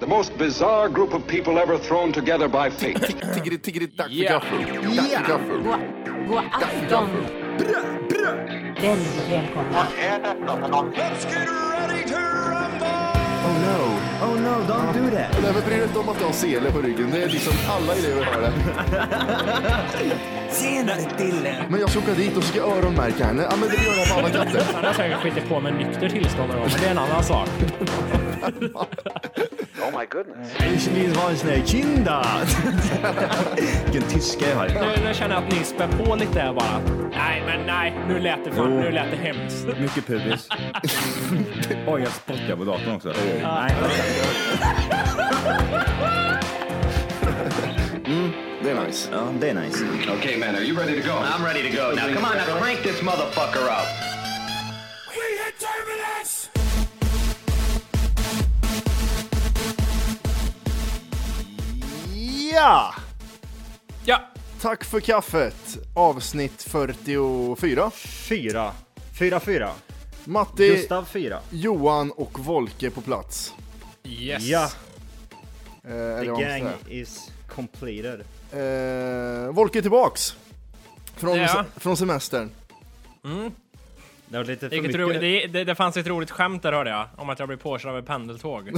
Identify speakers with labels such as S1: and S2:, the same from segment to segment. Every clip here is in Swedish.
S1: The most bizarre group of people ever thrown together by fate.
S2: Tiggeri, tiggeri, dack för
S3: Ja.
S2: gaffel. Dack för gaffel.
S4: God, god afton. Väldigt välkomna.
S5: Oh no, oh no, don't do that.
S2: Nej, men bry dig inte om att jag har sele på ryggen. Det är liksom alla elever har det.
S5: Senare Dille.
S2: Men jag ska åka dit och ska öronmärka henne. Ja, men det gör jag på alla katter.
S3: Han har säkert skitit på med nykter tillstånd då, men det är en annan sak.
S5: Ich will vara en sån här kinda. Vilken tyska jag har.
S3: Nu, nu känner jag att ni spär på lite här bara. Nej, men nej. Nu lät det, fan, nu lät det hemskt.
S6: Mycket pubis. Oj, jag spottar på datorn också.
S2: Det är nice.
S6: Ja, det är nice.
S1: okay, man, are you ready to go? I'm ready to go. Now, come on, now crank this motherfucker up.
S2: Ja!
S3: Ja.
S2: Tack för kaffet. Avsnitt 44.
S6: Fyra. Fyra, fyra.
S2: Matti,
S6: Gustav fyra.
S2: Johan och Volke på plats.
S3: Yes.
S6: Ja,
S2: Eh, eller vad
S6: the
S2: man ska
S6: gang
S2: säga.
S6: is completed.
S2: Eh, Volke är tillbaks. Från,
S3: Ja.
S2: från semestern.
S6: Det var lite för
S3: Vilket
S6: mycket.
S3: ro, det, det, det fanns ett roligt skämt där hörde jag, om att jag blir påkörd av ett pendeltåg.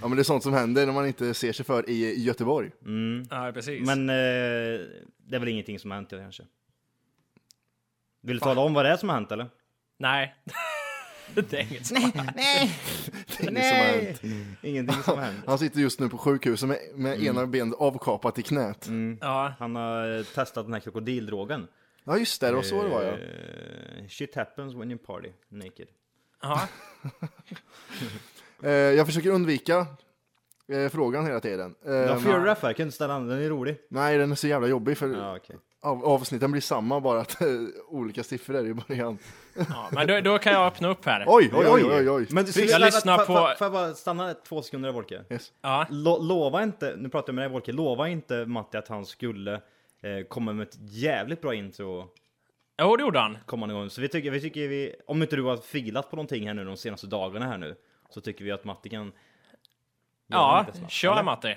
S2: Ja, men det är sånt som händer när man inte ser sig för i Göteborg.
S6: Mm.
S3: Ja, precis.
S6: Men eh, det är väl ingenting som har hänt kanske. Vill du tala om vad det är som har hänt eller?
S3: Nej. det är inget svar.
S2: Det är inget som har hänt.
S6: Ingenting som har hänt.
S2: Han sitter just nu på sjukhuset med, med
S6: Mm.
S2: ena benet avkapat i knät.
S3: Ja.
S6: Han har eh, testat den här krokodildrogen.
S2: Ja just det, det var så det var ja.
S6: Eh, shit happens when you party naked.
S3: ja.
S2: Eh, Jag försöker undvika eh, frågan hela tiden. Eh,
S6: Varför gör du det? För jag kan inte ställa den, den är rolig.
S2: Nej, den är så jävla jobbig för
S6: Ja, okej.
S2: av, avsnitten blir samma bara att eh, olika siffror i början.
S3: ja. Men då, då kan jag öppna upp här.
S2: Oj, oj, oj, oj, oj.
S6: Men du skulle-
S3: Jag lyssnar
S6: Får- får-
S3: på-
S6: Får jag bara stanna två sekunder där, Volke?
S2: Yes.
S3: Ja.
S6: Lo, lova inte, nu pratar jag med dig Volke, lova inte Matti att han skulle eh, komma med ett jävligt bra intro
S3: Jo, det gjorde han.
S6: kommande gång. Så vi tycker, vi tycker vi, om inte du har filat på någonting här nu de senaste dagarna här nu, så tycker vi att Matti kan... göra
S3: Ja,
S6: lite snabbt,
S3: kör
S6: eller?
S3: Matti.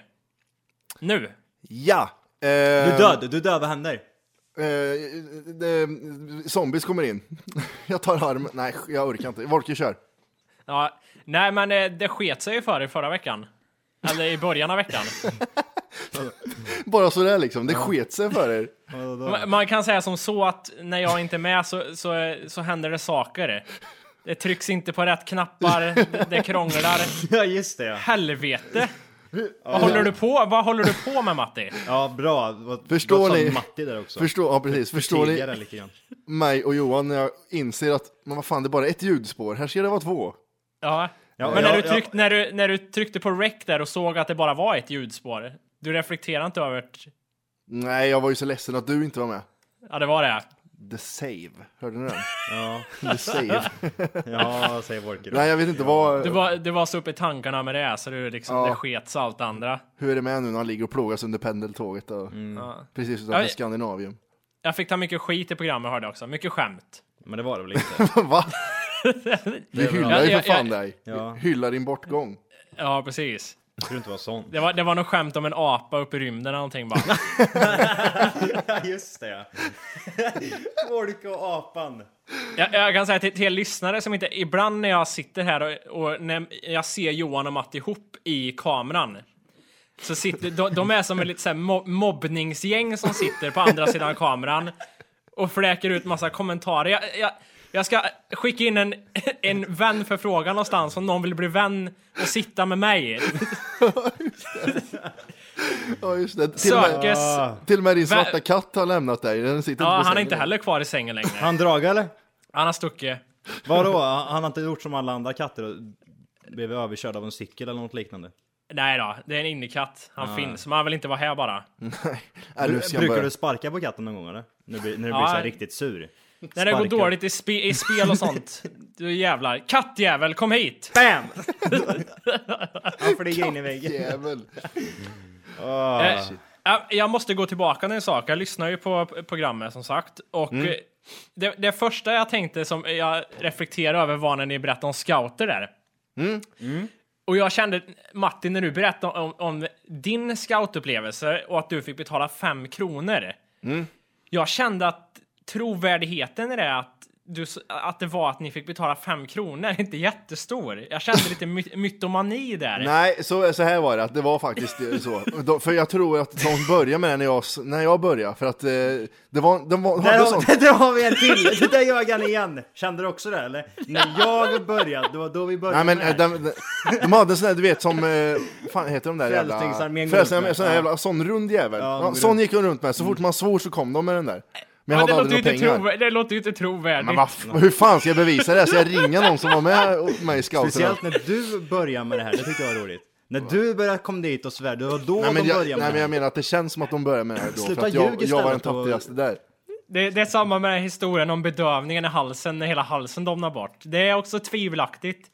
S3: Nu.
S2: Ja! Du
S6: Du är död, du är död, vad händer?
S2: Eh, zombies kommer in. jag tar armen. Nej, jag orkar inte. Volker kör.
S3: Ja. Nej, men eh, det sket sig ju för i förra veckan. Eller i början av veckan.
S2: Bara sådär liksom. Det sket sig för er.
S3: Ma- Man kan säga som så att när jag inte är med så, så, så händer det saker. Det trycks inte på rätt knappar, det- det krånglar.
S6: Ja just det ja.
S3: Helvete! Vad håller du på, vad håller du på med Matti?
S6: Ja bra, vad,
S2: Förstår
S6: vad sa
S2: ni?
S6: Matti där också.
S2: Förstår, ja, precis. Förstår
S6: Tidigare
S2: ni
S6: lite grann.
S2: mig och Johan när jag inser att men vad fan, det är bara ett ljudspår. Här ska det vara två.
S3: Ja.
S6: Ja,
S3: Men när
S6: ja,
S3: du,
S6: ja.
S3: tryck, när, du, när du tryckte på rec där och såg att det bara var ett ljudspår, du reflekterar inte över att
S2: Nej, jag var ju så ledsen att du inte var med.
S3: ja, det var det.
S2: The Save. Hörde ni den?
S6: Ja,
S2: The Save.
S6: ja säger Volke då.
S2: Nej, jag vet inte vad,
S3: Du var, du var så uppe i tankarna med det, så du liksom,
S2: Ja.
S3: det sket sig allt andra.
S2: hur är det med nu när han ligger och plågas under pendeltåget och,
S6: Mm.
S3: Ja.
S2: precis utanför
S3: Oj.
S2: Skandinavium.
S3: Jag fick ta mycket skit i programmet hörde jag också, mycket skämt.
S6: Men det var det väl inte?
S2: Va? Vi hyllar ju
S3: Ja,
S2: för
S3: ja,
S2: fan
S3: ja.
S2: dig.
S6: Ja.
S2: Vi hyllar din bortgång.
S3: Ja, precis.
S6: Jag tror inte det var sånt.
S3: Det var, det var något skämt om en apa uppe i rymden eller någonting bara.
S6: Ja, just det. Folk och apan.
S3: Jag, jag kan säga till, till er lyssnare som inte... Ibland när jag sitter här och, och när jag ser Johan och Matt ihop i kameran så sitter, de, de är som ett litet så här mo- mobbningsgäng som sitter på andra sidan kameran och fläker ut massa kommentarer. Jag, jag, jag ska skicka in en, en vän för frågan någonstans om någon vill bli vän och sitta med mig.
S2: Ja, just det. Till, och med, Ah.
S3: Sökes...
S2: till och med din
S3: Vä-
S2: svarta katt har lämnat dig. Den sitter
S3: Ja,
S2: på
S3: han är
S2: sängen.
S3: inte heller kvar i sängen längre.
S6: Han Draga eller?
S3: Han har stuckit.
S6: Vadå? Han han har inte gjort som alla andra katter och blivit överkörd av en cykel eller något liknande?
S3: Nej då, det är en innekatt.
S2: Ah.
S3: Han finns, men han vill inte vara här bara.
S2: Ja, Äh, nu ska han
S6: Brukar
S2: börja.
S6: du sparka på katten någon gång eller? Nu blir, när du
S3: Ja.
S6: blir så här riktigt sur?
S3: När det går
S6: Sparka.
S3: dåligt i, spe, i spel och sånt. Du jävlar. Kattjävel, kom hit!
S6: BAM! Han flyger in i väggen.
S2: Jävel.
S3: Eh, eh, jag måste gå tillbaka till en sak. Jag lyssnar ju på p- programmet som sagt. Och
S2: Mm.
S3: eh, det, det första
S2: Mm.
S3: jag tänkte som jag reflekterade över var när ni berättade om scouter där. Och jag kände, Martin, när du berättade om, om din scoutupplevelse och att du fick betala fem kronor.
S2: Mm.
S3: Jag kände att trovärdigheten i det, att, du, s- att det var att ni fick betala fem kronor, inte jättestor. Jag kände lite my- mytomani där.
S2: Nej, så, så här var det, att det var faktiskt eh, så. De- För jag tror att de började med det när jag, s- när jag började, för att eh, det var, de var,
S6: Där
S2: hade sånt.
S6: har, där har vi en till! Det där gör han igen! Kände du också det eller? När jag började, det var då vi började
S2: Nej men
S6: med det
S2: de,
S6: här.
S2: de, de hade en sån där, du vet som, eh, fan heter de där jävla...
S6: Frälsningsarmén går
S2: Frälsningsarmén,
S6: ut
S2: sån
S6: med.
S2: där jävla, sån rund jävel.
S6: Ja,
S2: Ja,
S6: de går
S2: sån
S6: runt.
S2: gick de runt med, så fort man svor så kom de med den där. Men jag
S3: Men det,
S2: hade
S3: låter ju
S2: aldrig några
S3: inte
S2: pengar.
S3: trov- det låter ju inte trovärdigt.
S2: Men vad f- hur fan ska jag bevisa det? Ska jag ringa någon som var med och- mig i scouterna?
S6: Speciellt när du började med det här, det tyckte jag var roligt. När du började komma dit och svär, det var då
S2: Nej men,
S6: de
S2: jag,
S6: började
S2: nej
S6: med
S2: men
S6: det
S2: jag
S6: här.
S2: menar att det känns som att de började med det här då,
S6: Sluta
S2: för att
S6: ljug
S2: jag, jag var den
S6: istället och-
S2: tattigaste där.
S3: Det, det är samma med den här historien om bedövningen i halsen när hela halsen domnar bort. Det är också tvivelaktigt.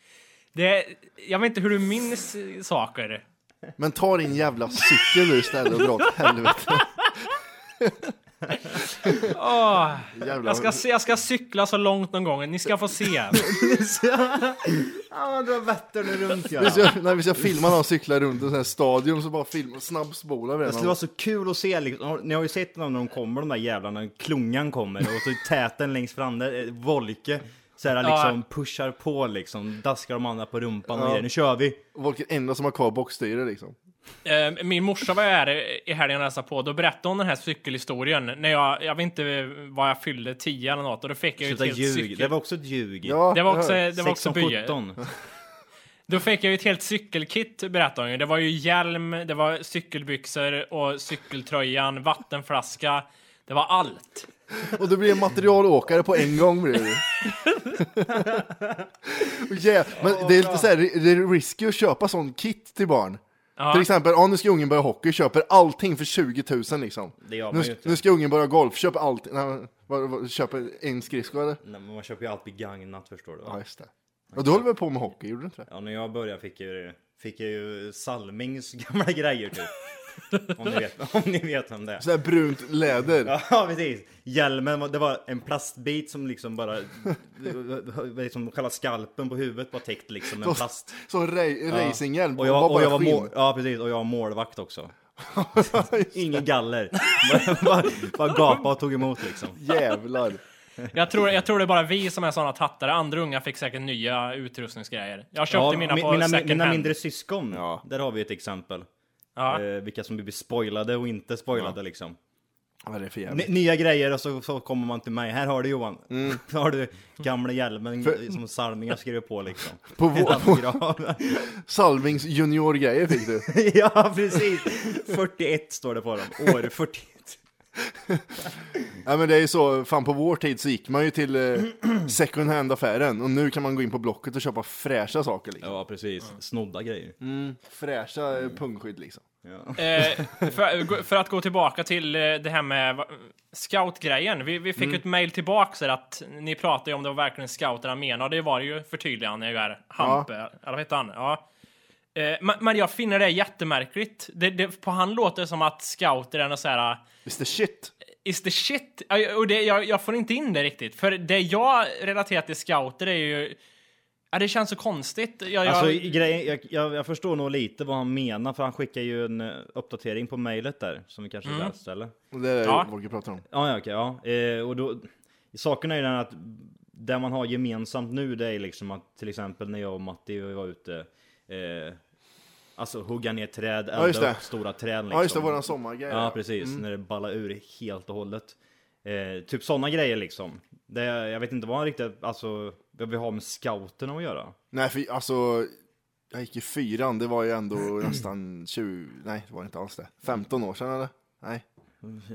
S3: Det, jag vet inte hur du minns eh, saker.
S2: Men ta din jävla cykel nu istället och dra åt helvete.
S3: Åh,
S2: Jävla...
S3: jag, ska, se- jag ska cykla så långt någon gång, ni ska få se.
S6: Ja, du har Vättern runt
S2: Vi
S6: Göran.
S2: ska, när vi ska filma någon cykla runt en sån här stadion så bara film, snabbspolar vi
S6: Det
S2: den.
S6: skulle vara så kul att se, liksom, ni har ju sett dem när de kommer, de där jävlarna, när klungan kommer och så täten längst fram, där, eh, Volke, så här, liksom pushar på liksom, daskar de andra på rumpan och grejer. Nu kör vi!
S2: Volker enda som har kvar boxstyre liksom.
S3: Eh, Min morsa var här i helgen och hälsade på, då berättade hon den här cykelhistorien. När jag, jag vet inte vad jag fyllde, 10 eller något, och då fick jag ju ett
S6: Sluta
S3: helt
S6: ljug, det
S3: cykel...
S6: var också ett ljug.
S2: Ja,
S3: Det var
S2: jag
S3: också,
S2: hör.
S3: det var också bye.
S6: 17.
S3: Då fick jag ju ett helt cykelkit berättade hon ju. Det var ju hjälm, det var cykelbyxor och cykeltröjan, vattenflaska. Det var allt.
S2: Och du blir en materialåkare på en gång blir du. Och jä- Men det är lite så här, det är risky att köpa sån kit till barn. Till exempel, ja, nu ska ungen börja hockey, köper allting för 20 000 liksom.
S6: Det gör man
S2: nu,
S6: ju inte.
S2: nu ska ungen börja golf, köper allting. Nej, men, vad, vad, köper en skridsko eller?
S6: Nej, men man köper ju allt begagnat förstår du va?
S2: Ja, just det. Ja, du höll väl på med hockey, gjorde du inte det?
S6: Ja, när jag började fick, ju, fick jag ju Salmings gamla grejer typ. om, ni vet, om ni vet om det är.
S2: Sådär brunt läder.
S6: Ja, precis. Hjälmen, var- det var en plastbit som liksom bara... liksom själva skalpen på huvudet var täckt liksom med plast.
S2: Som ra- racinghjälm,
S6: Och
S2: det
S6: jag,
S2: var
S6: och
S2: bara
S6: jag var
S2: skinn.
S6: mål, ja, precis. Och jag var målvakt också. Ingen galler. Bara- bara, bara gapade och tog emot liksom.
S2: Jävlar.
S3: Jag tror, jag tror det är bara vi som är såna tattare. Andra unga fick säkert nya utrustningsgrejer. Jag köpte
S6: Ja,
S3: mina
S6: mi-
S3: på
S6: mina,
S3: second
S6: mina
S3: hand.
S6: mindre syskon, där har vi ett exempel.
S3: Ja.
S6: Eh, vilka som blir spoilade och inte spoilade liksom.
S2: Vad är det för
S6: N-
S2: jävligt?
S6: nya grejer och så, så kommer man till mig. Här har du Johan. Här har du gamla hjälmen
S2: Mm. För-
S6: som Salmingar skrev på liksom.
S2: På vår-
S6: Ett autograf.
S2: Salvings juniorgrejer fick du.
S6: ja, precis. 41 står det på dem. År 41.
S2: Ja men det är ju så, fan på vår tid så gick man ju till eh, second hand-affären och nu kan man gå in på Blocket och köpa fräscha saker liksom.
S6: Ja, precis. Snodda grejer.
S2: Mm. Fräscha eh, pungskydd liksom.
S3: Eh, för, för att gå tillbaka till eh, det här med va- scoutgrejen. Vi, vi fick ju ett mejl tillbaka så att ni pratade ju om det var verkligen scouterna menade. Och det var det ju förtydligande där. Hampe, eller vad hette han? Ja. Eh, men, men jag finner det jättemärkligt. Det, det, på han låter det som att scouter är något så här...
S2: Visst är shit?
S3: is the shit. Ja, Och det, jag, jag får inte in det riktigt. För det jag relaterar till scouter är ju... Ja, det känns så konstigt. Jag,
S6: Alltså,
S3: jag,
S6: grejen, jag, jag, jag förstår nog lite vad han menar, för han skickar ju en eh, uppdatering på mejlet där, som vi kanske läste, eller?
S2: Och Det är
S3: Ja.
S2: det Volker pratar om.
S6: Ja, ja, okej, ja. Eh, och då, saken är ju den att det man har gemensamt nu det är liksom att till exempel när jag och Matti var ute eh, Alltså hugga ner träd, elda
S2: just det.
S6: upp stora träd liksom.
S2: Ja just det, våran sommargrej. Mm.
S6: Ja precis, när det ballar ur helt och hållet. Eh, typ sådana grejer liksom. Det, jag vet inte vad han riktigt, alltså vad vi har med scouterna att göra.
S2: Nej för alltså, jag gick i fyran, det var ju ändå nästan 20, nej det var inte alls det. 15 år sedan eller? Nej.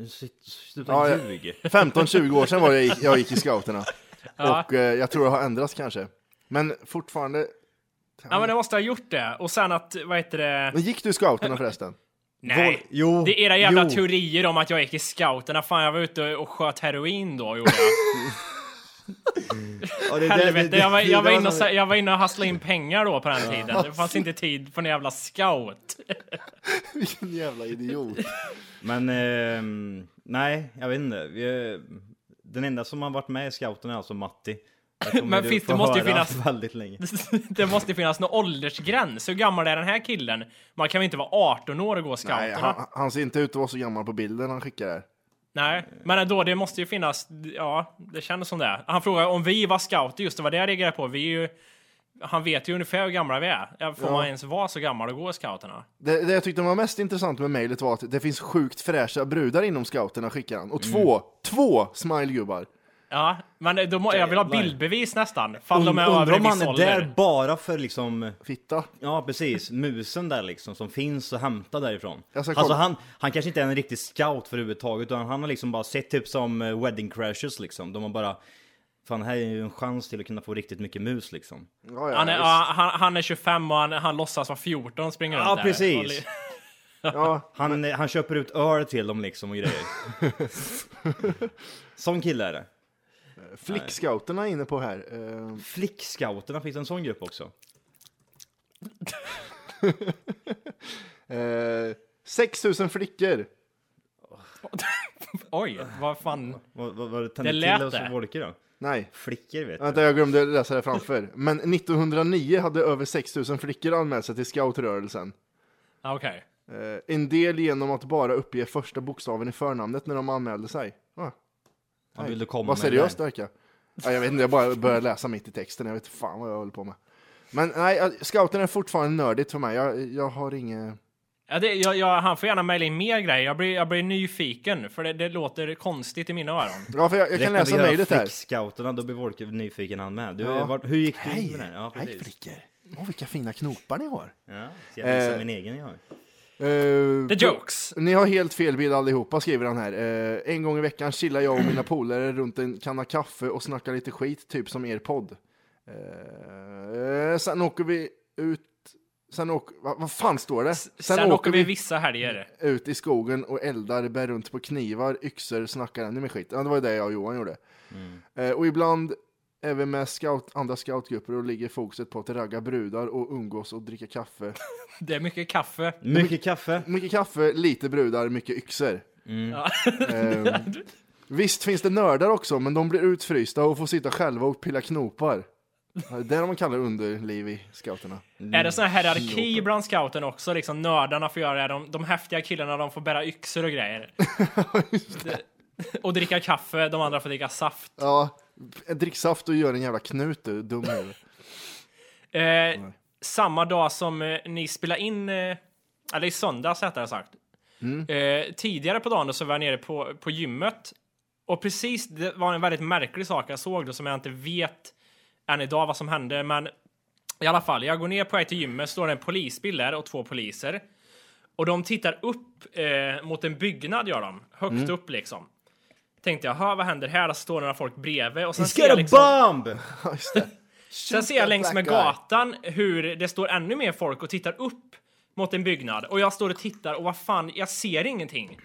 S6: Sitt- Sluta
S2: Ja, ja.
S6: ljug!
S2: 15-20 år sedan var det jag gick, jag gick i scouterna.
S3: Ja.
S2: Och eh, jag tror det har ändrats kanske. Men fortfarande,
S3: ja, men det måste ha gjort det. Och sen att, vad heter det?
S2: men gick du i scouterna förresten?
S3: Nej!
S6: Jo,
S3: Det är era jävla
S6: jo.
S3: teorier om att jag gick i scouterna. Fan, jag var ute och sköt heroin då, gjorde jag.
S6: Ja, det är det- det-
S3: Helvete,
S6: det-
S3: jag var,
S6: det är
S3: jag var
S6: det
S3: inne och,
S6: som-
S3: sa- jag var inne och hustlade in pengar då på den tiden. Det fanns inte tid för en jävla scout.
S2: Vilken jävla idiot.
S6: Men ehm, nej, jag vet inte. Vi, eh, den enda som har varit med i scouten är alltså Matti. Där kommer
S3: Men
S6: du
S3: finns-
S6: få
S3: det måste ju
S6: höra
S3: finnas-
S6: väldigt länge.
S3: det måste ju finnas någon åldersgräns. Hur gammal är den här killen? Man kan väl inte vara 18 år och gå scouterna?
S2: Nej,
S3: Nej,
S2: han, han ser inte ut att vara så gammal på bilden han skickar här.
S3: men ändå, det måste ju finnas. Ja, det kändes som det. Han frågar om vi var scouter, just det var det jag reagerade på. Vi är ju, han vet ju ungefär hur gamla vi är. Ja, Får man ens vara så gammal och gå scouterna?
S2: Det, det jag tyckte var mest intressant med mejlet var att det finns sjukt fräscha brudar inom scouterna skickar han. Och
S3: Mm.
S2: två, två smilegubbar.
S3: Ja, men då må, jag vill ha bildbevis nästan. Fall de är
S6: Und-
S3: över
S6: Undrar
S3: en
S6: om han
S3: viss
S6: är
S3: ålder.
S6: där bara för liksom
S2: Fitta.
S6: Ja precis, musen där liksom som finns att hämta därifrån.
S2: Jag ska
S6: Alltså
S2: kolla.
S6: han, han kanske inte är en riktig scout för överhuvudtaget utan han har liksom bara sett typ som eh, wedding crashes liksom. De har bara, fan här är ju en chans till att kunna få riktigt mycket mus liksom.
S2: Ja, ja,
S3: Han är,
S2: visst.
S3: ja, han, han är 25 och han, han låtsas vara 14 och springer
S6: Ja
S3: runt där. Och li-
S6: precis!
S2: ja.
S6: Han, han köper ut öl till dem liksom och grejer. Sån kille är det.
S2: Flickscouterna är inne på här. Eh,
S6: Flickscouterna, finns det en sån grupp också?
S2: Eh, 6000 flickor.
S3: Oj, vad fan.
S6: Vad, vad, vad
S3: Det
S6: tände
S3: lät
S6: till oss
S3: det.
S6: Wolke då?
S2: Nej,
S6: Flickor vet du.
S2: vänta jag glömde läsa det framför. Men 1909 hade över 6000 flickor anmält sig till scoutrörelsen.
S3: Ja, Okej.
S2: Eh, en del genom att bara uppge första bokstaven i förnamnet när de anmälde sig. Ah,
S6: Han ville komma
S2: vad
S6: med det
S2: seriöst
S6: där.
S2: det verkar. Ja, jag vet inte, jag bara började läsa mitt i texten. Jag vet fan vad jag håller på med. Men nej, eh, scouterna är fortfarande nördigt för mig. Jag, jag har inget...
S3: Ja, det, jag, jag, han får gärna mejla in mer grejer. Jag blir, jag blir nyfiken, för det, det låter konstigt i mina öron.
S2: Ja, för jag, jag kan
S6: Rätt när vi
S2: läsa
S6: gör
S2: mejlet här.
S6: Flickscouterna, då blir Wolke nyfiken han med. Du,
S2: Ja.
S6: vart, hur gick du in
S2: Hej,
S6: med den? Ja,
S2: hej
S6: precis.
S2: flickor! Åh, vilka fina knopar ni har!
S6: Ja, så jag visar
S2: Eh.
S6: min egen jag har.
S2: Eh,
S3: The jokes!
S2: Ni har helt fel bild allihopa, skriver han här. Eh, en gång i veckan chillar jag och mina polare runt en kanna kaffe och snackar lite skit, typ som er podd. Eh, sen åker vi ut... Sen åker... Va, vad fan står det? Sen,
S3: Sen, åker vi vissa helger.
S2: ut i skogen och eldar, bär runt på knivar, yxor, snackar ännu mer skit. Ja, det var ju det jag och Johan gjorde. Eh, och ibland även med scout, andra scoutgrupper och ligger fokuset på att ragga brudar och umgås och dricka kaffe.
S3: Det är mycket kaffe.
S6: Mycket kaffe.
S2: Mycket kaffe, lite brudar, mycket yxor.
S3: Ja.
S2: Eh, visst finns det nördar också, men de blir utfrysta och får sitta själva och pilla knopar. Ja, Det är det man kallar underliv i scouterna.
S3: Är det sån här hierarki bland scouten också? Liksom nördarna får göra det. De, de häftiga killarna de får bära yxor och grejer. Det- Och dricka kaffe, de andra får dricka saft.
S2: Ja, drick saft och gör en jävla knut du, dum huvud.
S3: Eh, samma dag som eh, ni spelade in, eh, eller i söndags rättare sagt. Eh, tidigare på dagen då så var jag nere på, på gymmet. Och precis, det var en väldigt märklig sak jag såg då som jag inte vet än idag vad som hände. Men i alla fall, jag går ner på väg till gymmet, står det en polisbil där och två poliser. Och de tittar upp eh, mot en byggnad gör de, högt upp liksom. Tänkte jag, "Jaha, vad händer här? Där står några folk bredvid. Och sen
S6: He's
S3: ser jag
S6: got
S3: liksom...
S6: a bomb!
S2: Ja, just det.
S3: Sen ser jag längs med
S2: Black guy.
S3: gatan hur det står ännu mer folk och tittar upp mot en byggnad och jag står och tittar och vad fan, jag ser ingenting.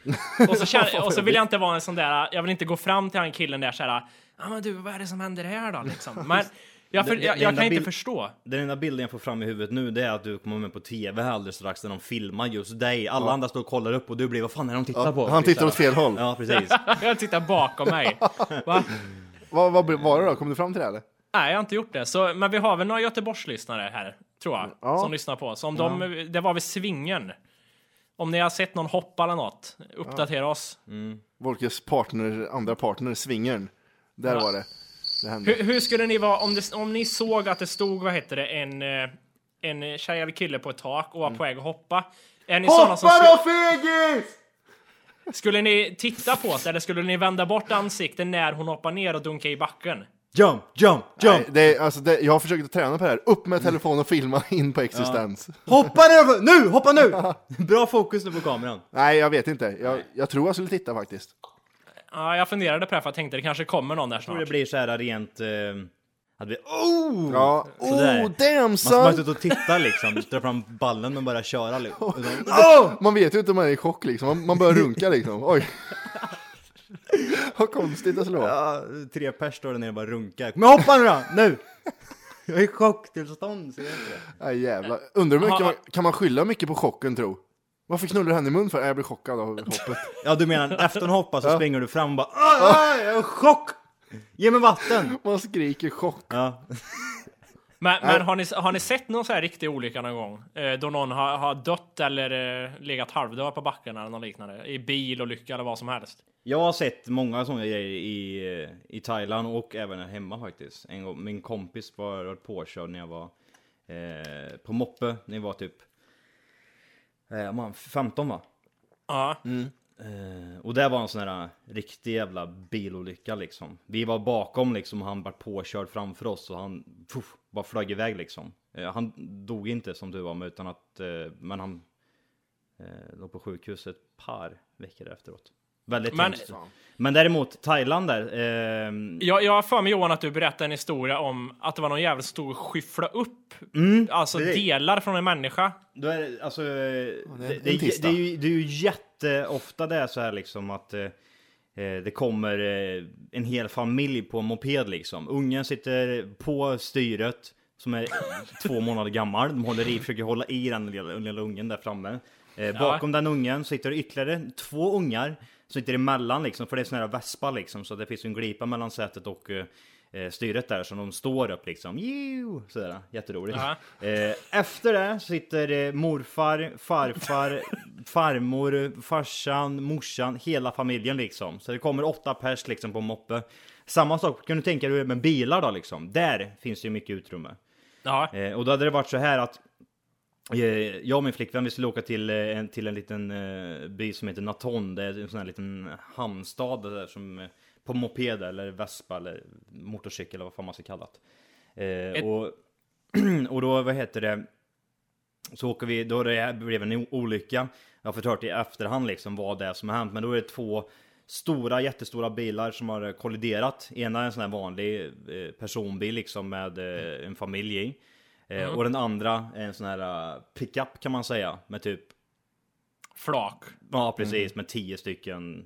S3: Och så, känner, och så vill jag inte vara en sån där, jag vill inte gå fram till han killen där såhär, ja men du vad är det som händer här då liksom? Men jag, för,
S6: Det- det-
S3: jag,
S6: det
S3: jag
S6: enda
S3: kan inte
S6: bild-
S3: förstå.
S6: Den enda bilden jag får fram i huvudet nu det är att du kommer med på TV här alldeles strax när de filmar just dig. Alla andra står och kollar upp och du blir vad fan är de tittar på?
S2: Han tittar åt fel håll.
S6: Ja precis.
S3: Jag tittar bakom mig. Va?
S2: Vad, vad var det då? Kom du fram till det eller?
S3: Nej, jag har inte gjort det. Så, men vi har väl några Göteborgslyssnare här, tror jag,
S2: Ja.
S3: som lyssnar på oss. Om de, det var väl svingen. Om ni har sett någon hoppa eller något, uppdatera oss.
S2: Volkes partner, andra partner, svingern. Där var det. Det hände.
S3: Hur, hur skulle ni vara om, det, om ni såg att det stod, vad heter det, en, eh, en tjej eller kille på ett tak och var
S6: Mm.
S3: på väg att hoppa? Är ni såna som
S2: Hoppa
S3: skulle,
S2: då fegis!
S3: skulle ni titta på det eller skulle ni vända bort ansiktet när hon hoppar ner och dunkar i backen?
S6: Jump, jump, jump!
S2: Nej, det är, alltså, det, jag har försökt att träna på det här. Upp med telefonen och filma in på existens.
S6: Hoppa ner! Nu! Hoppa nu! Bra fokus nu på kameran.
S2: Nej, jag vet inte. Jag, jag tror jag skulle titta faktiskt.
S3: Ja, jag funderade på det här för jag tänkte det kanske kommer någon där
S6: Och det
S3: snart.
S6: blir så här rent... Eh, att vi, oh!
S2: Ja.
S6: Sådär.
S2: Oh, damn
S6: Man ska bara
S2: son!
S6: sitta och titta liksom, dra fram ballen och bara köra liksom. Utan-
S2: Man vet ju inte om man är i chock liksom. Man, man börjar runka liksom. Oj. Vad konstigt det skulle vara.
S6: Ja, tre pers står där nere och bara runkar. Men hoppa nu då! Nu! Jag är i chocktillstånd, ser jag inte det?
S2: Aj, jävlar. Undrar hur mycket man, kan man skylla mycket på chocken tro? Varför knullar du henne i mun för? Nej, Jag blir chockad av hoppet.
S6: Ja, du menar efter hon hoppar så springer du fram och bara "Aj, aj, jag är i chock! Ge mig vatten!
S2: Man skriker chock.
S6: Ja.
S3: Men, men har, ni, har ni sett någon så här riktig olycka någon gång? Eh, då någon har, har dött eller eh, legat halvdöd på backen eller något liknande? I bilolycka eller vad som helst?
S6: Jag har sett många sådana grejer i, eh, i Thailand och även här hemma faktiskt. En gång, min kompis var påkörd när jag var eh, på moppe, när jag var typ eh, man, 15 va?
S3: Ja.
S6: Eh, och det var en sån här riktig jävla bilolycka liksom. Vi var bakom liksom och han var påkörd framför oss och han puff, bara flög iväg liksom. Eh, han dog inte som du var med utan att, eh, men han eh, låg på sjukhus ett par veckor efteråt. Väldigt
S3: Men-
S6: hemskt. Men däremot Thailand där. Eh,
S3: Jag, jag har för mig Johan att du berättade en historia om att det var någon jävligt stor skyffla upp,
S6: Mm,
S3: alltså
S6: precis.
S3: delar från en människa.
S6: då är det, alltså, eh, det,
S2: en
S6: det, det, är- det,
S2: tisdag.
S6: är ju, det är ju jätteofta det är så här liksom att eh, eh, det kommer eh, en hel familj på en moped liksom. Ungen sitter på styret som är två månader gammal. De håller i, försöker hålla i den lilla, den lilla ungen där framme. Eh, bakom den ungen sitter det ytterligare två ungar som sitter emellan liksom, för det är sån här vespa liksom, så det finns ju en glipa mellan sätet och eh, eh, styret där som de står upp liksom. Jiu! Sådär, jätteroligt. Eh, efter det sitter eh, morfar, farfar, farmor, farsan, morsan, hela familjen liksom. Så det kommer åtta pers liksom på moppe. Samma sak kan du tänka dig med bilar då liksom. Där finns det ju mycket utrymme.
S3: Ja.
S6: Eh, och då hade det varit så här att eh, jag och min flickvän vi skulle åka till, eh, en, till en liten eh, by som heter Naton. Det är en sån här liten hamnstad där som eh, på moped eller vespa eller motorcykel eller vad fan man ska kalla det. Eh, och, och då, vad heter det? Så åker vi, då det här blev en o- olycka. Jag har fått hört i efterhand liksom vad det är som har hänt. Men då är det två stora, jättestora bilar som har kolliderat. Ena är en sån här vanlig eh, personbil liksom med eh, en familj i. Eh, Och den andra är en sån här eh, pickup kan man säga. Med typ,
S3: Flak.
S6: ja precis, med tio stycken.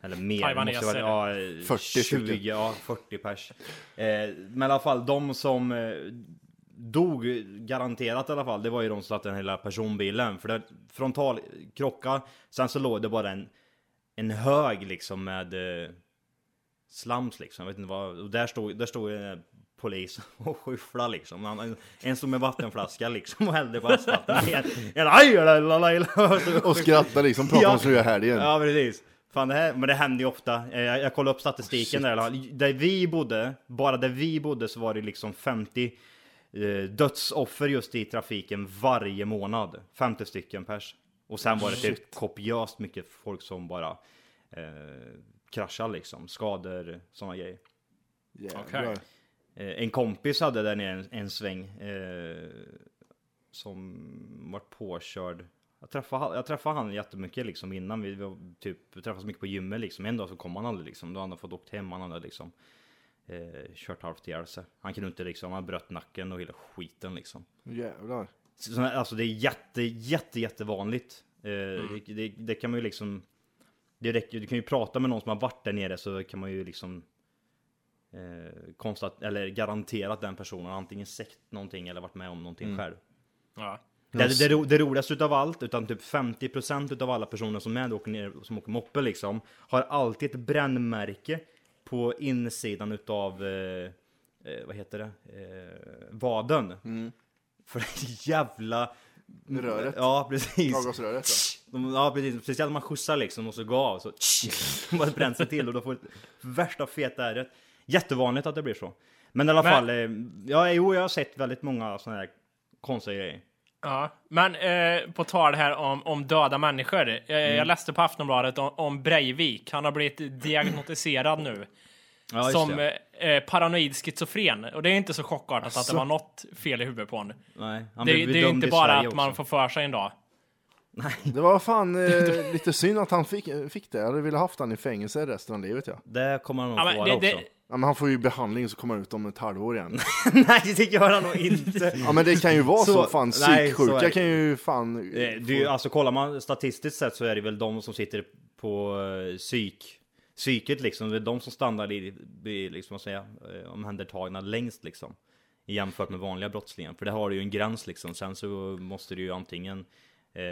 S6: Eller mer. det
S3: Taiwaneser.
S6: måste vara, ja, eh,
S2: 40 stycken.
S6: 20, ja 40 pers. Eh, men i alla fall de som eh, dog garanterat i alla fall, det var ju de som satt i den hela personbilen. För det frontal krocka, sen så låg det bara en, en hög liksom med eh, slams liksom. Jag vet inte vad, och där stod, där stod eh, polis och skyfflade liksom. Han- En, en stod med vattenflaska liksom och hällde på asfalten. En- en- aj, la, la, la, la.
S2: Och skrattar liksom, pratar om sina helgen.
S6: Ja, precis. Fan, det här, men det händer ju ofta. Eh, Jag, jag kollade upp statistiken
S2: Oh,
S6: där i alla fall. Där vi bodde, bara där vi bodde så var det liksom 50 eh, dödsoffer just i trafiken varje månad. 50 stycken pers. Och sen var det typ kopiöst mycket folk som bara eh, kraschar liksom. Skador, sådana grejer.
S2: Jävlar.
S3: Okej.
S6: Eh, en kompis hade där nere en, en sväng eh, som var påkörd. Jag träffade, han- jag träffade han jättemycket liksom innan. Vi var typ, träffades mycket på gymmet liksom. En dag så kom han aldrig liksom. Då hade han fått åkt hem. Han hade liksom eh, kört halvt ihjäl sig. Han kunde inte liksom, han bröt nacken och hela skiten liksom.
S2: Jävlar.
S6: Så, så- alltså det är jätte, jätte, jättevanligt. Eh, det, det, det kan man ju liksom... Det räcker, du kan ju prata med någon som har varit där nere så kan man ju liksom eh, konstat, eller garantera att den personen har antingen sett någonting eller varit med om någonting själv.
S3: Ja.
S6: Det, det, ro- det roligaste utav allt, utan typ 50% utav alla personer som är där och åker ner, som åker moppe liksom, har alltid ett brännmärke på insidan utav, eh, eh, vad heter det, eh, vaden. För det jävla...
S2: Röret.
S6: Ja, precis.
S2: Avgasröret,
S6: De, ja, precis. Precis när man skjutsar liksom och så går av så... bara bränns det till och då får ett värsta feta ärret. Jättevanligt att det blir så. Men i alla
S3: Men-
S6: fall, eh, ja, jo, jag har sett väldigt många sådana här konstiga grejer.
S3: Ja. Men eh, på tal här om, om döda människor. Eh,
S6: Mm.
S3: Jag läste på Aftonbladet om, om Breivik. Han har blivit diagnostiserad nu
S6: Ja, just
S3: som
S6: det. Alltså-
S3: eh, eh, paranoid schizofren. Och det är inte så chockartat att det var något fel i huvudet på honom.
S6: Nej, han
S3: Det,
S6: blev
S3: det är ju
S6: dömd
S3: inte
S6: i
S3: bara
S6: Sverige
S3: att man får
S6: också.
S3: för sig en dag.
S2: Det var fan eh, lite synd att han fick, fick det. Jag hade velat haft han i fängelse resten av livet. Ja.
S6: Det kommer han nog
S3: Ja,
S6: få
S3: men
S6: vara
S3: det,
S6: också.
S3: det,
S2: Ja, men han får ju behandling så kommer han ut om ett halvår igen.
S6: Nej, det gör han nog inte.
S2: Ja men det kan ju vara så,
S6: Så-
S2: fan.
S6: nej, så är det.
S2: Psyksjuka kan ju fan...
S6: Eh, Det är ju, alltså kollar man statistiskt sett så är det väl de som sitter på eh, psyk, psyket liksom. Det är de som stannar i, i liksom, vad säger jag, eh, omhändertagna längst liksom. Jämfört med vanliga brottslingar. För det har du ju en gräns liksom. Sen så måste du ju antingen eh,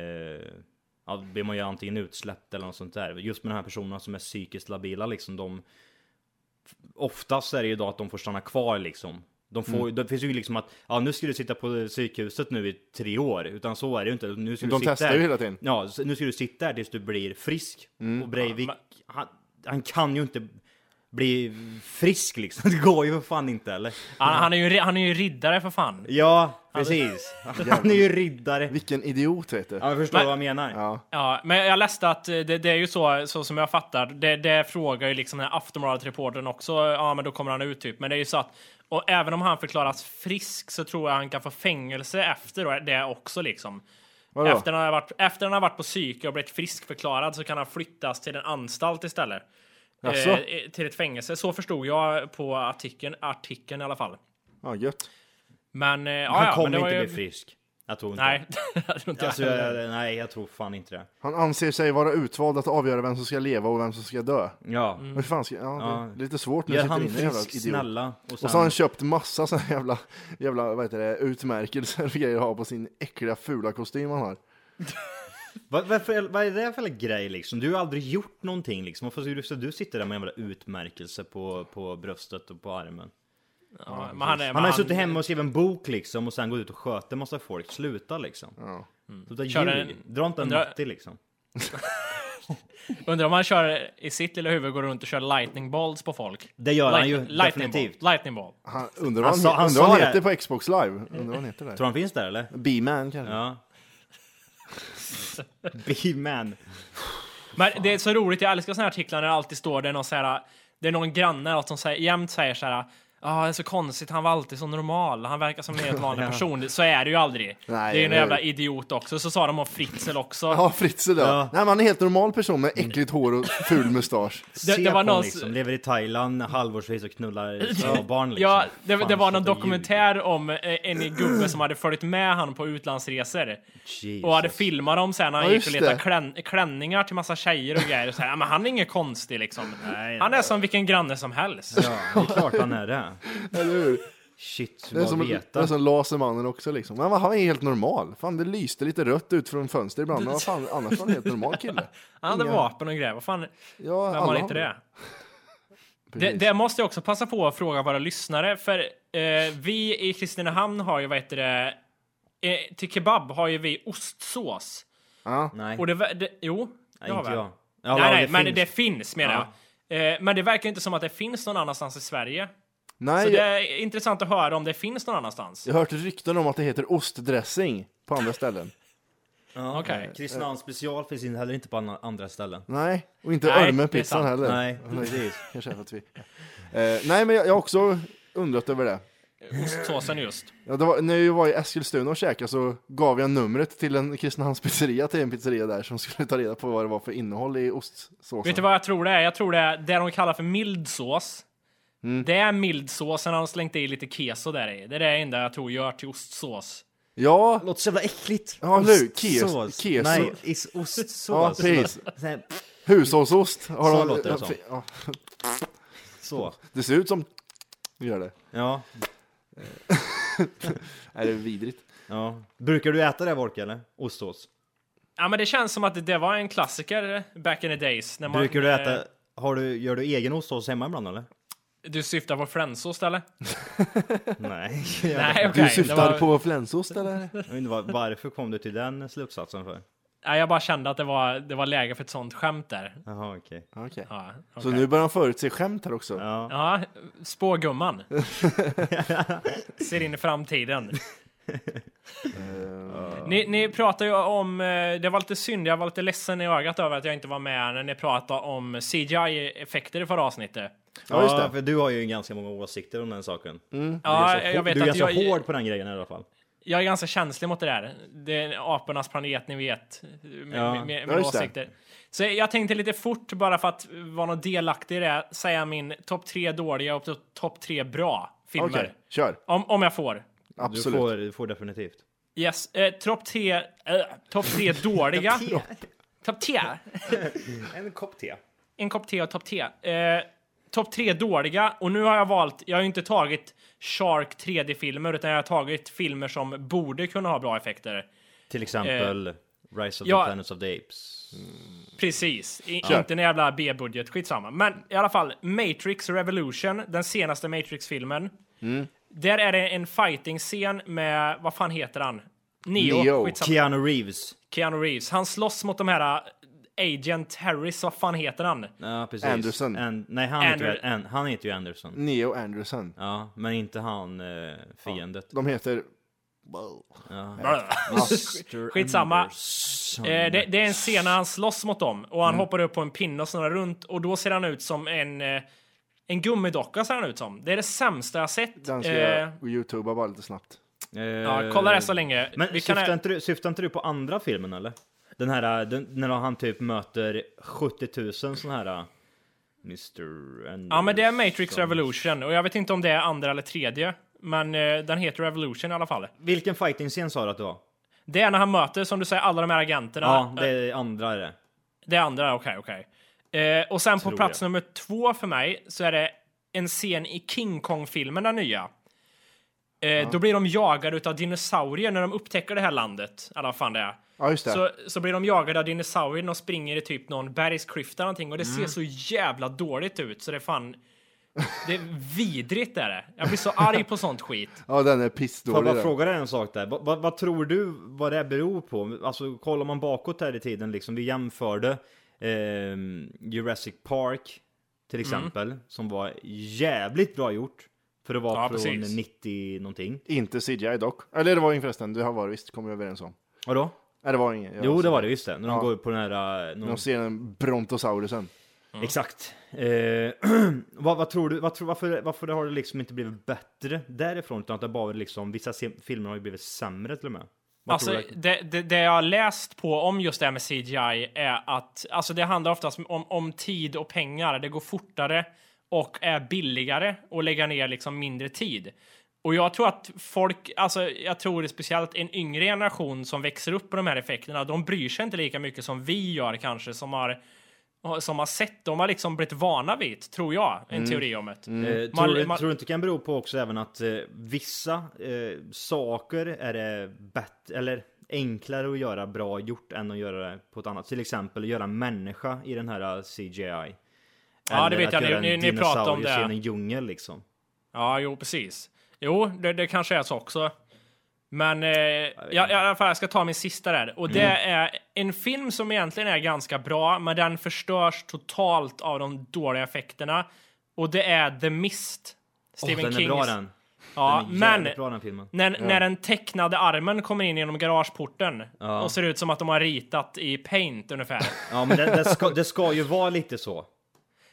S6: ja, då blir man ju antingen utsläppt eller något sånt där. Just med de här personerna som är psykiskt labila liksom. De, oftast är det ju då att de får stanna kvar liksom. De får,
S2: Mm.
S6: Det finns ju liksom att, ja nu ska du sitta på psykhuset nu i tre år, utan så är det ju inte. Nu ska
S2: De
S6: du sitta
S2: testar
S6: här.
S2: ju hela tiden. Mm.
S6: Ja, så nu ska du sitta här tills du blir frisk. Och Breivik, han, han kan ju inte bli frisk liksom. Det går ju för fan inte eller?
S3: Han, han, är ju, ri- han är ju riddare för fan.
S6: Ja, precis. Han är ju riddare.
S2: Vilken idiot vet du.
S6: Ja, jag förstår
S3: Men-
S6: vad jag menar.
S2: Ja.
S3: Ja, men jag läste att eh, det, det är ju så, så som jag fattar, det, det frågar ju liksom den här Aftonbladet-reportern också, ja men då kommer han ut typ. Men det är ju så att, och även om han förklaras frisk så tror jag han kan få fängelse efter och det också liksom.
S2: Vadå?
S3: Efter han, har varit, efter han har varit på psyke och blivit friskförklarad så kan han flyttas till en anstalt istället.
S2: Jaså?
S3: Eh, till ett fängelse. Så förstod jag på artikeln, artikeln i alla fall.
S2: Ja, gött.
S3: Men eh, ja,
S6: Han
S3: ja,
S6: kommer
S3: men det var
S6: inte
S3: ju...
S6: bli frisk. Jag tror inte
S3: Nej, det tror inte
S6: det.
S3: jag.
S6: Alltså, jag, nej, jag tror fan inte det.
S2: Han anser sig vara utvald att avgöra vem som ska leva och vem som ska dö.
S6: Ja.
S2: Hur fan ska, ja,
S6: Mm. Ja.
S2: Det är lite svårt nu.
S6: Gör
S2: Mm. sitter
S6: han
S2: inne, jävla
S6: frisk,
S2: idiot.
S6: snälla. Och sen,
S2: Och så har han köpt massa såna här jävla, jävla vad heter det, utmärkelser och grejer att ha på sin äckliga fula kostym han har.
S6: vad, varför, vad är det för grej liksom? Du har aldrig gjort någonting liksom. Varför ska du, så du sitter där med en jävla utmärkelse på, på bröstet och på armen?
S3: Ja, men han, är- men
S6: Han har ju suttit hemma och skrivit en bok liksom och sen gått ut och sköter en massa folk. Sluta liksom. Ja.
S2: Mm.
S6: Sluta
S3: Kör
S6: ljug.
S3: en-
S6: Dra inte en
S3: undrar-
S6: Matti liksom.
S3: Undrar om han kör i sitt lilla huvud, går runt och kör lightning bolts på folk.
S6: Det gör han
S3: Lightning-
S6: ju
S3: lightning
S6: definitivt. Ah,
S3: Ball. Lightning ball.
S2: Han, undrar vad
S6: Han
S2: han,
S6: sa- han
S2: undrar vad
S6: sa
S2: han
S6: det.
S2: heter på Xbox live? Undrar vad han heter där?
S6: Tror han finns där eller?
S2: Mm. B-man kanske?
S6: Ja. B-man.
S3: Men det är så roligt, jag älskar såna här artiklar när det alltid står det är någon så här, det är någon granne eller något som säger, jämt säger så här, ja det är så konstigt, han var alltid så normal, han verkar som en helt vanlig person. Så är det ju aldrig.
S2: Nej,
S3: det är ju en
S2: eller
S3: jävla
S2: hur?
S3: idiot också. Så sa de om Fritzl också.
S2: Ja, Fritzl ja.
S6: Ja. liksom.
S2: Nej, men han är en helt normal person med äckligt hår och ful mustasch.
S3: Det-
S6: Se
S3: det var
S6: på
S3: någon-
S6: honom liksom, lever i Thailand halvårsvis och knullar småbarn liksom.
S3: Ja, det,
S6: Fan,
S3: det var någon
S6: sluta ljug.
S3: dokumentär om eh, en gubbe som hade följt med han på utlandsresor.
S6: Jesus.
S3: Och hade filmat dem sen när han
S2: Ja,
S3: gick och
S2: just
S3: letade
S2: det.
S3: klän, klänningar till massa tjejer och grejer. Och så här, "Ja, men han är ingen konstig liksom.
S6: nej.
S3: han är som vilken granne som helst.
S6: Ja, det är klart han är det.
S2: Eller hur?
S6: Shit,
S2: Det är,
S6: vad
S2: som, det
S6: veta.
S2: är som Lasermannen också liksom. Men han är helt normal. Fan, det lyste lite rött ut från fönstret ibland. Men vad fan, annars var han en helt normal kille.
S3: Han hade vapen och grejer. Vad fan,
S2: Ja,
S3: vem
S2: alla
S3: har
S2: har
S3: inte det?
S2: Precis.
S3: det? Det måste jag också passa på att fråga våra lyssnare. För eh, vi i Kristinehamn har ju, vad heter det, eh, till kebab har ju vi ostsås.
S2: Ja.
S6: Nej,
S3: Och det, vä- det jo, det
S6: Mm. nej,
S3: har
S6: inte
S3: vi.
S6: jag. Ja,
S3: nej,
S6: ja,
S3: nej, men
S6: finns.
S3: det finns menar
S6: Ja.
S3: jag. Eh, Men det verkar inte som att det finns någon annanstans i Sverige.
S2: Nej,
S3: Så det är intressant att höra om det finns någon annanstans.
S2: jag har hört rykten om att det heter ostdressing på andra ställen.
S6: Ja,
S3: Okej.
S6: Kristinehamn special finns inte heller inte på andra- andra ställen.
S2: Nej, och inte
S3: Nej,
S2: örmenpizzan
S3: det är sant.
S2: heller.
S6: Nej, precis.
S2: Kanske är för att vi... eh, nej, men jag, jag har också undrat över det.
S3: Ostsåsen just.
S2: Ja, det var, när jag var i Eskilstuna och käkade så gav jag numret till en Kristinehamns pizzeria till en pizzeria där som skulle ta reda på vad det var för innehåll i ostsåsen.
S3: Vet du vad jag tror det är? Jag tror det är det de kallar för mild sås. Det är mild sås, sen har de slängt i lite keso där i. Det är det enda jag tror gör till ostsås.
S2: Ja,
S6: Låter så jävla äckligt.
S2: Ja, nu,
S6: Ostsås.
S2: kes- keso.
S6: Nej, is- ostsås.
S2: Ja, precis.
S6: Så här, pff,
S2: hushållsost har
S6: Så
S2: de...
S6: låter det som.
S2: ja,
S6: Så.
S2: det ser ut som... Gör det.
S6: Ja,
S2: Är det vidrigt?
S6: ja. Brukar du äta det Wolke eller? Ostsås?
S3: Ja, men det känns som att det, det var en klassiker back in the days. När man,
S6: Brukar du
S3: eh,
S6: äta... Har du, gör du egen ostsås hemma ibland eller?
S3: Du syftar på friendsost eller?
S6: Nej.
S3: Nej, okej.
S2: Du
S3: det
S2: syftar
S3: var-
S2: på flänsost eller?
S6: Jag vet inte var, varför kom du till den slutsatsen för?
S3: Nej, jag bara kände att det var, det var läge för ett sånt skämt där.
S6: Jaha, okej.
S2: Okej.
S3: Ja,
S2: Så
S3: okej.
S2: nu börjar han förutse skämt här också.
S6: Ja.
S3: Ja, spågumman. Ser in i framtiden.
S6: Eh,
S3: ni, ni pratar ju om, eh, det var lite synd, jag var lite ledsen i ögat över att jag inte var med när ni pratade om CGI-effekter i förra avsnittet.
S6: Mm.
S2: Ja, just det. Mm.
S6: för du har ju ganska många åsikter om den saken.
S3: Ja,
S6: Så
S3: jag
S6: hår-
S3: vet
S6: Alltså, du är
S3: att
S6: ganska
S3: jag,
S6: hård på den grejen i alla fall.
S3: jag är ganska känslig mot det där. Det är apornas planet, ni vet. Med,
S6: Ja.
S3: med, med,
S2: Ja,
S3: med
S2: just det.
S3: åsikter. Så jag tänkte lite fort, bara för att vara någon delaktig i det, säga min topp tre dåliga och to- topp tre bra filmer.
S2: Okej, kör.
S3: Om, om jag får.
S6: Du
S2: Absolut.
S6: får, du får definitivt.
S3: Yes, eh, topp tre, eh, topp tre dåliga. topp te.
S6: En kopp te.
S3: En kopp te och topp te. Eh, topp tre dåliga. Och nu har jag valt, jag har ju inte tagit Shark 3D-filmer, utan jag har tagit filmer som borde kunna ha bra effekter.
S6: Till exempel Rise of
S3: Eh, Ja.
S6: the Planets of the Apes.
S3: Precis, I, inte en jävla B-budget, skitsamma. Men i alla fall, Matrix Revolution, den senaste Matrix-filmen. Där är det en fighting-scen med, vad fan heter han? Neo,
S2: Neo.
S3: skitsamma.
S6: Keanu Reeves.
S3: Keanu Reeves. Han slåss mot de här äh, Agent Harris, vad fan heter han?
S6: Ja, precis.
S2: Anderson. Mm.
S6: An- nej, han, heter, ju,
S3: Ander-
S6: an- han heter ju Anderson.
S2: Neo Anderson.
S6: Ja, men inte han eh, fiendet.
S2: De heter...
S6: Mr.
S3: Skitsamma.
S6: Anderson.
S3: Eh, det, det är en scen när han slåss mot dem och
S6: Mm.
S3: han hoppar upp på en pinne och snurrar runt och då ser han ut som en, eh, en gummidocka ser han ut som. Det är det sämsta jag sett.
S2: Den ska
S3: Eh,
S2: jag youtuba bara lite snabbt.
S6: Eh,
S3: ja, kolla det så länge.
S6: Men
S3: Vi kan-
S6: syftar, inte du, syftar inte du på andra filmen eller? Den här, eh, den, när han typ möter 70 000 sådana här... eh, Mr. Anderson.
S3: Ja, men det är Matrix Revolution och jag vet inte om det är andra eller tredje. Men eh, den heter Revolution i alla fall.
S6: Vilken fighting-scen sa du att det var?
S3: Det är när han möter, som du säger, alla de här agenterna.
S6: Ja, det är andra är det.
S3: Det andra, okej, okej. Eh, och sen på
S6: Tror
S3: plats
S6: jag.
S3: nummer två för mig så är det en scen i King Kong-filmen, den nya. Eh, Då blir de jagade utav dinosaurier när de upptäcker det här landet. Eller vad fan det är.
S2: Ja, just det.
S3: Så, så blir de jagade av dinosaurier och springer i typ någon bergsklyfta eller någonting och det
S2: Mm.
S3: ser så jävla dåligt ut så det är fan... Det är vidrigt är det. Jag blir så arg på sånt skit.
S2: Ja, den är
S6: Får jag
S2: pissdålig.
S6: bara
S2: den.
S6: fråga dig en sak där? Vad, vad, vad tror du vad det här beror på? Alltså kollar man bakåt här i tiden liksom, vi jämförde ehm, Jurassic Park till exempel, som var jävligt bra gjort för att vara
S3: Ja,
S6: från
S3: precis.
S6: 90 någonting.
S2: Inte CGI dock. Eller det var ingen förresten, det har varit visst, kommer vi överens om.
S6: Vadå?
S2: Nej, det var ingen. Jag
S6: Jo det
S2: ser-
S6: var det, just det. När de
S2: Ja.
S6: går på den här... eh, Någon,
S2: De ser den brontosaurusen.
S6: Exakt. Eh, vad, vad tror du, vad tror, varför, varför har det liksom inte blivit bättre därifrån? Utan att det bara liksom, vissa se- filmer har ju blivit sämre till och med. Vad tror
S3: Alltså,
S6: du?
S3: det, det, det jag har läst på om just det här med CGI är att alltså, det handlar oftast om, om tid och pengar. Det går fortare och är billigare och lägga ner liksom mindre tid. Och jag tror att folk, alltså jag tror speciellt en yngre generation som växer upp på de här effekterna, de bryr sig inte lika mycket som vi gör kanske, som har, som har sett, de har liksom blivit vana vid, det, tror jag, en
S6: Mm.
S3: teori om det.
S6: Eh,
S3: Man-
S6: tror,
S3: man-
S6: tror du inte det kan bero på också även att eh, vissa eh, saker är det bättre eller enklare att göra bra gjort än att göra det på ett annat. Till exempel att göra en människa i den här eh, CGI.
S3: Ja, det
S6: Eller
S3: vet
S6: att
S3: jag. Ni-
S6: göra en
S3: ni- ni pratade om
S6: dinosaurie
S3: det.
S6: i en djungel liksom.
S3: Ja, jo, precis. Jo, det, det kanske är så också. Men eh, jag, jag, i alla fall, jag ska ta min sista där. Och det
S6: Mm.
S3: är en film som egentligen är ganska bra, men den förstörs totalt av de dåliga effekterna. Och det är The Mist.
S6: Åh,
S3: Stephen
S6: den
S3: Kings.
S6: är bra den.
S3: Ja,
S6: den är
S3: men
S6: jävligt bra den filmen.
S3: när, när den tecknade armen kommer in genom garageporten och ser ut som att de har ritat i paint ungefär.
S6: Ja, men det, det, ska, det ska ju vara lite så.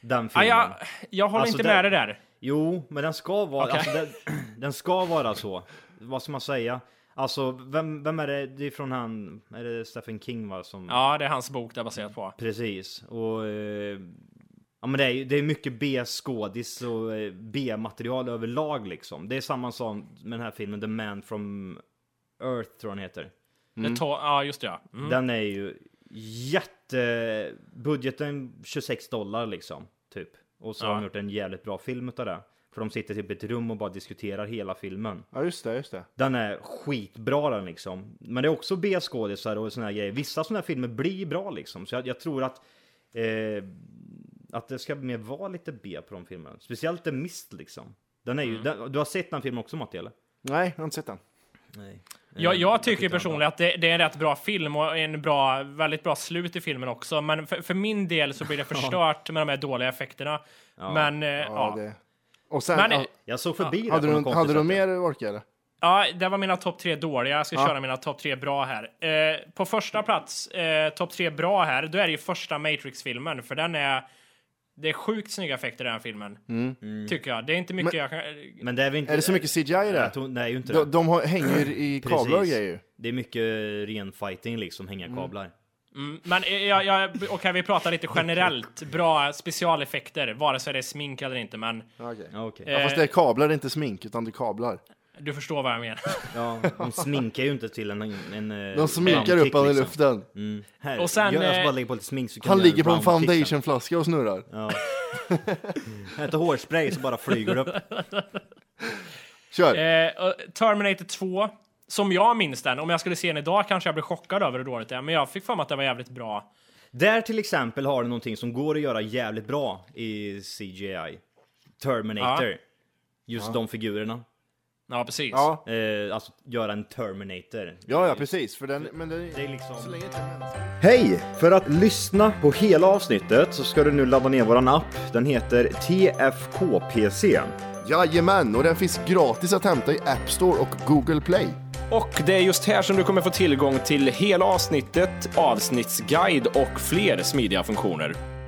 S6: Den
S3: ja,
S6: filmen.
S3: jag, jag håller
S6: Alltså,
S3: inte
S6: där-
S3: med dig där.
S6: Jo, men den ska vara,
S3: Okej.
S6: alltså, den, den ska vara så. Vad ska man säga? Alltså, vem, vem är det? Det är från han, är det Stephen King va? Som,
S3: Ja, det är hans bok det är baserat på.
S6: Precis, och... Eh, ja men det är ju det är mycket B-skådis och eh, B-material överlag liksom. Det är samma som med den här filmen The Man from Earth tror jag den heter.
S3: Det tar, ja, just det. Ja. Mm.
S6: Den är ju jätte... Budgeten 26 dollar liksom, typ. Och så har de gjort en jävligt bra film utav det. För de sitter typ i ett rum och bara diskuterar hela filmen.
S2: Ja, just det, just det.
S6: Den är skitbra den liksom. Men det är också B-skådisar och såna här grejer. Vissa såna här filmer blir bra liksom. Så jag, jag tror att... Eh, att det ska mer vara lite B på de filmerna. Speciellt The Mist liksom. Den är ju, den, du har sett den filmen också Matti eller?
S2: Nej, jag har inte sett den.
S6: Nej.
S3: Jag,
S2: Eh,
S3: jag tycker personligen att det, det är en rätt bra film och en bra, väldigt bra slut i filmen också. Men för, för min del så blir det förstört med de här dåliga effekterna. Men eh, ja,
S2: Ja,
S3: ja.
S2: det. Och sen,
S3: Men,
S2: ja,
S3: eh,
S6: Jag såg förbi den
S2: hade,
S6: på något
S2: du,
S6: konstigt
S2: hade du
S6: sätt.
S2: mer ork eller?
S3: det var mina topp tre dåliga. Jag ska köra mina topp tre bra här. Eh, på första plats, eh, topp tre bra här, då är det ju första Matrix-filmen. För den är... Det är sjukt snygga effekter i den filmen.
S2: Mm.
S3: Tycker jag. Det är inte mycket jag kan...
S6: Men det är väl inte...
S2: Är det så mycket CGI i
S6: Jag
S2: det?
S6: tror, nej, ju inte
S2: De,
S6: det.
S2: de har, hänger ju i
S6: Precis.
S2: kablar och grejer ju.
S6: Det är mycket ren fighting liksom, hänga kablar.
S3: Mm, Men eh, jag, jag, okej, vi pratar lite generellt. Bra specialeffekter, vare sig det är smink eller inte. Men
S6: Ja, okej.
S3: Eh.
S2: Ja, fast det är kablar, det är inte smink, utan det är kablar.
S3: du förstår vad jag menar.
S6: Ja, de sminkar ju inte till en... en eh,
S2: De sminkar
S6: roundkick,
S2: upp honom i
S6: liksom.
S2: luften.
S6: Mm. Här,
S3: Och sen,
S6: gör, jag ska
S3: eh,
S6: bara lägga på lite smink så kan
S2: Han
S6: du
S2: ligger på en
S6: roundkick sen.
S2: foundationflaska och snurrar.
S6: Här, ta hårspray så bara flyger du upp.
S2: Kör!
S3: Eh, och Eh, Terminator 2 Som jag minns den, om jag skulle se den idag kanske jag blir chockad över hur dåligt det är, men jag fick för mig att det var jävligt bra.
S6: Där till exempel har du någonting som går att göra jävligt bra i CGI. Terminator. Just de figurerna.
S3: Ja, precis.
S2: Ja,
S6: Eh, alltså göra en Terminator.
S2: ja, ja precis. För den, men den,
S6: Det är liksom...
S2: så länge det är mänskligt.
S5: Hej! För att lyssna på hela avsnittet så ska du nu ladda ner våran app. Den heter TFKPC.
S2: Jajamän, och den finns gratis att hämta i App Store och Google Play.
S7: Och det är just här som du kommer få tillgång till hela avsnittet, avsnittsguide och fler smidiga funktioner.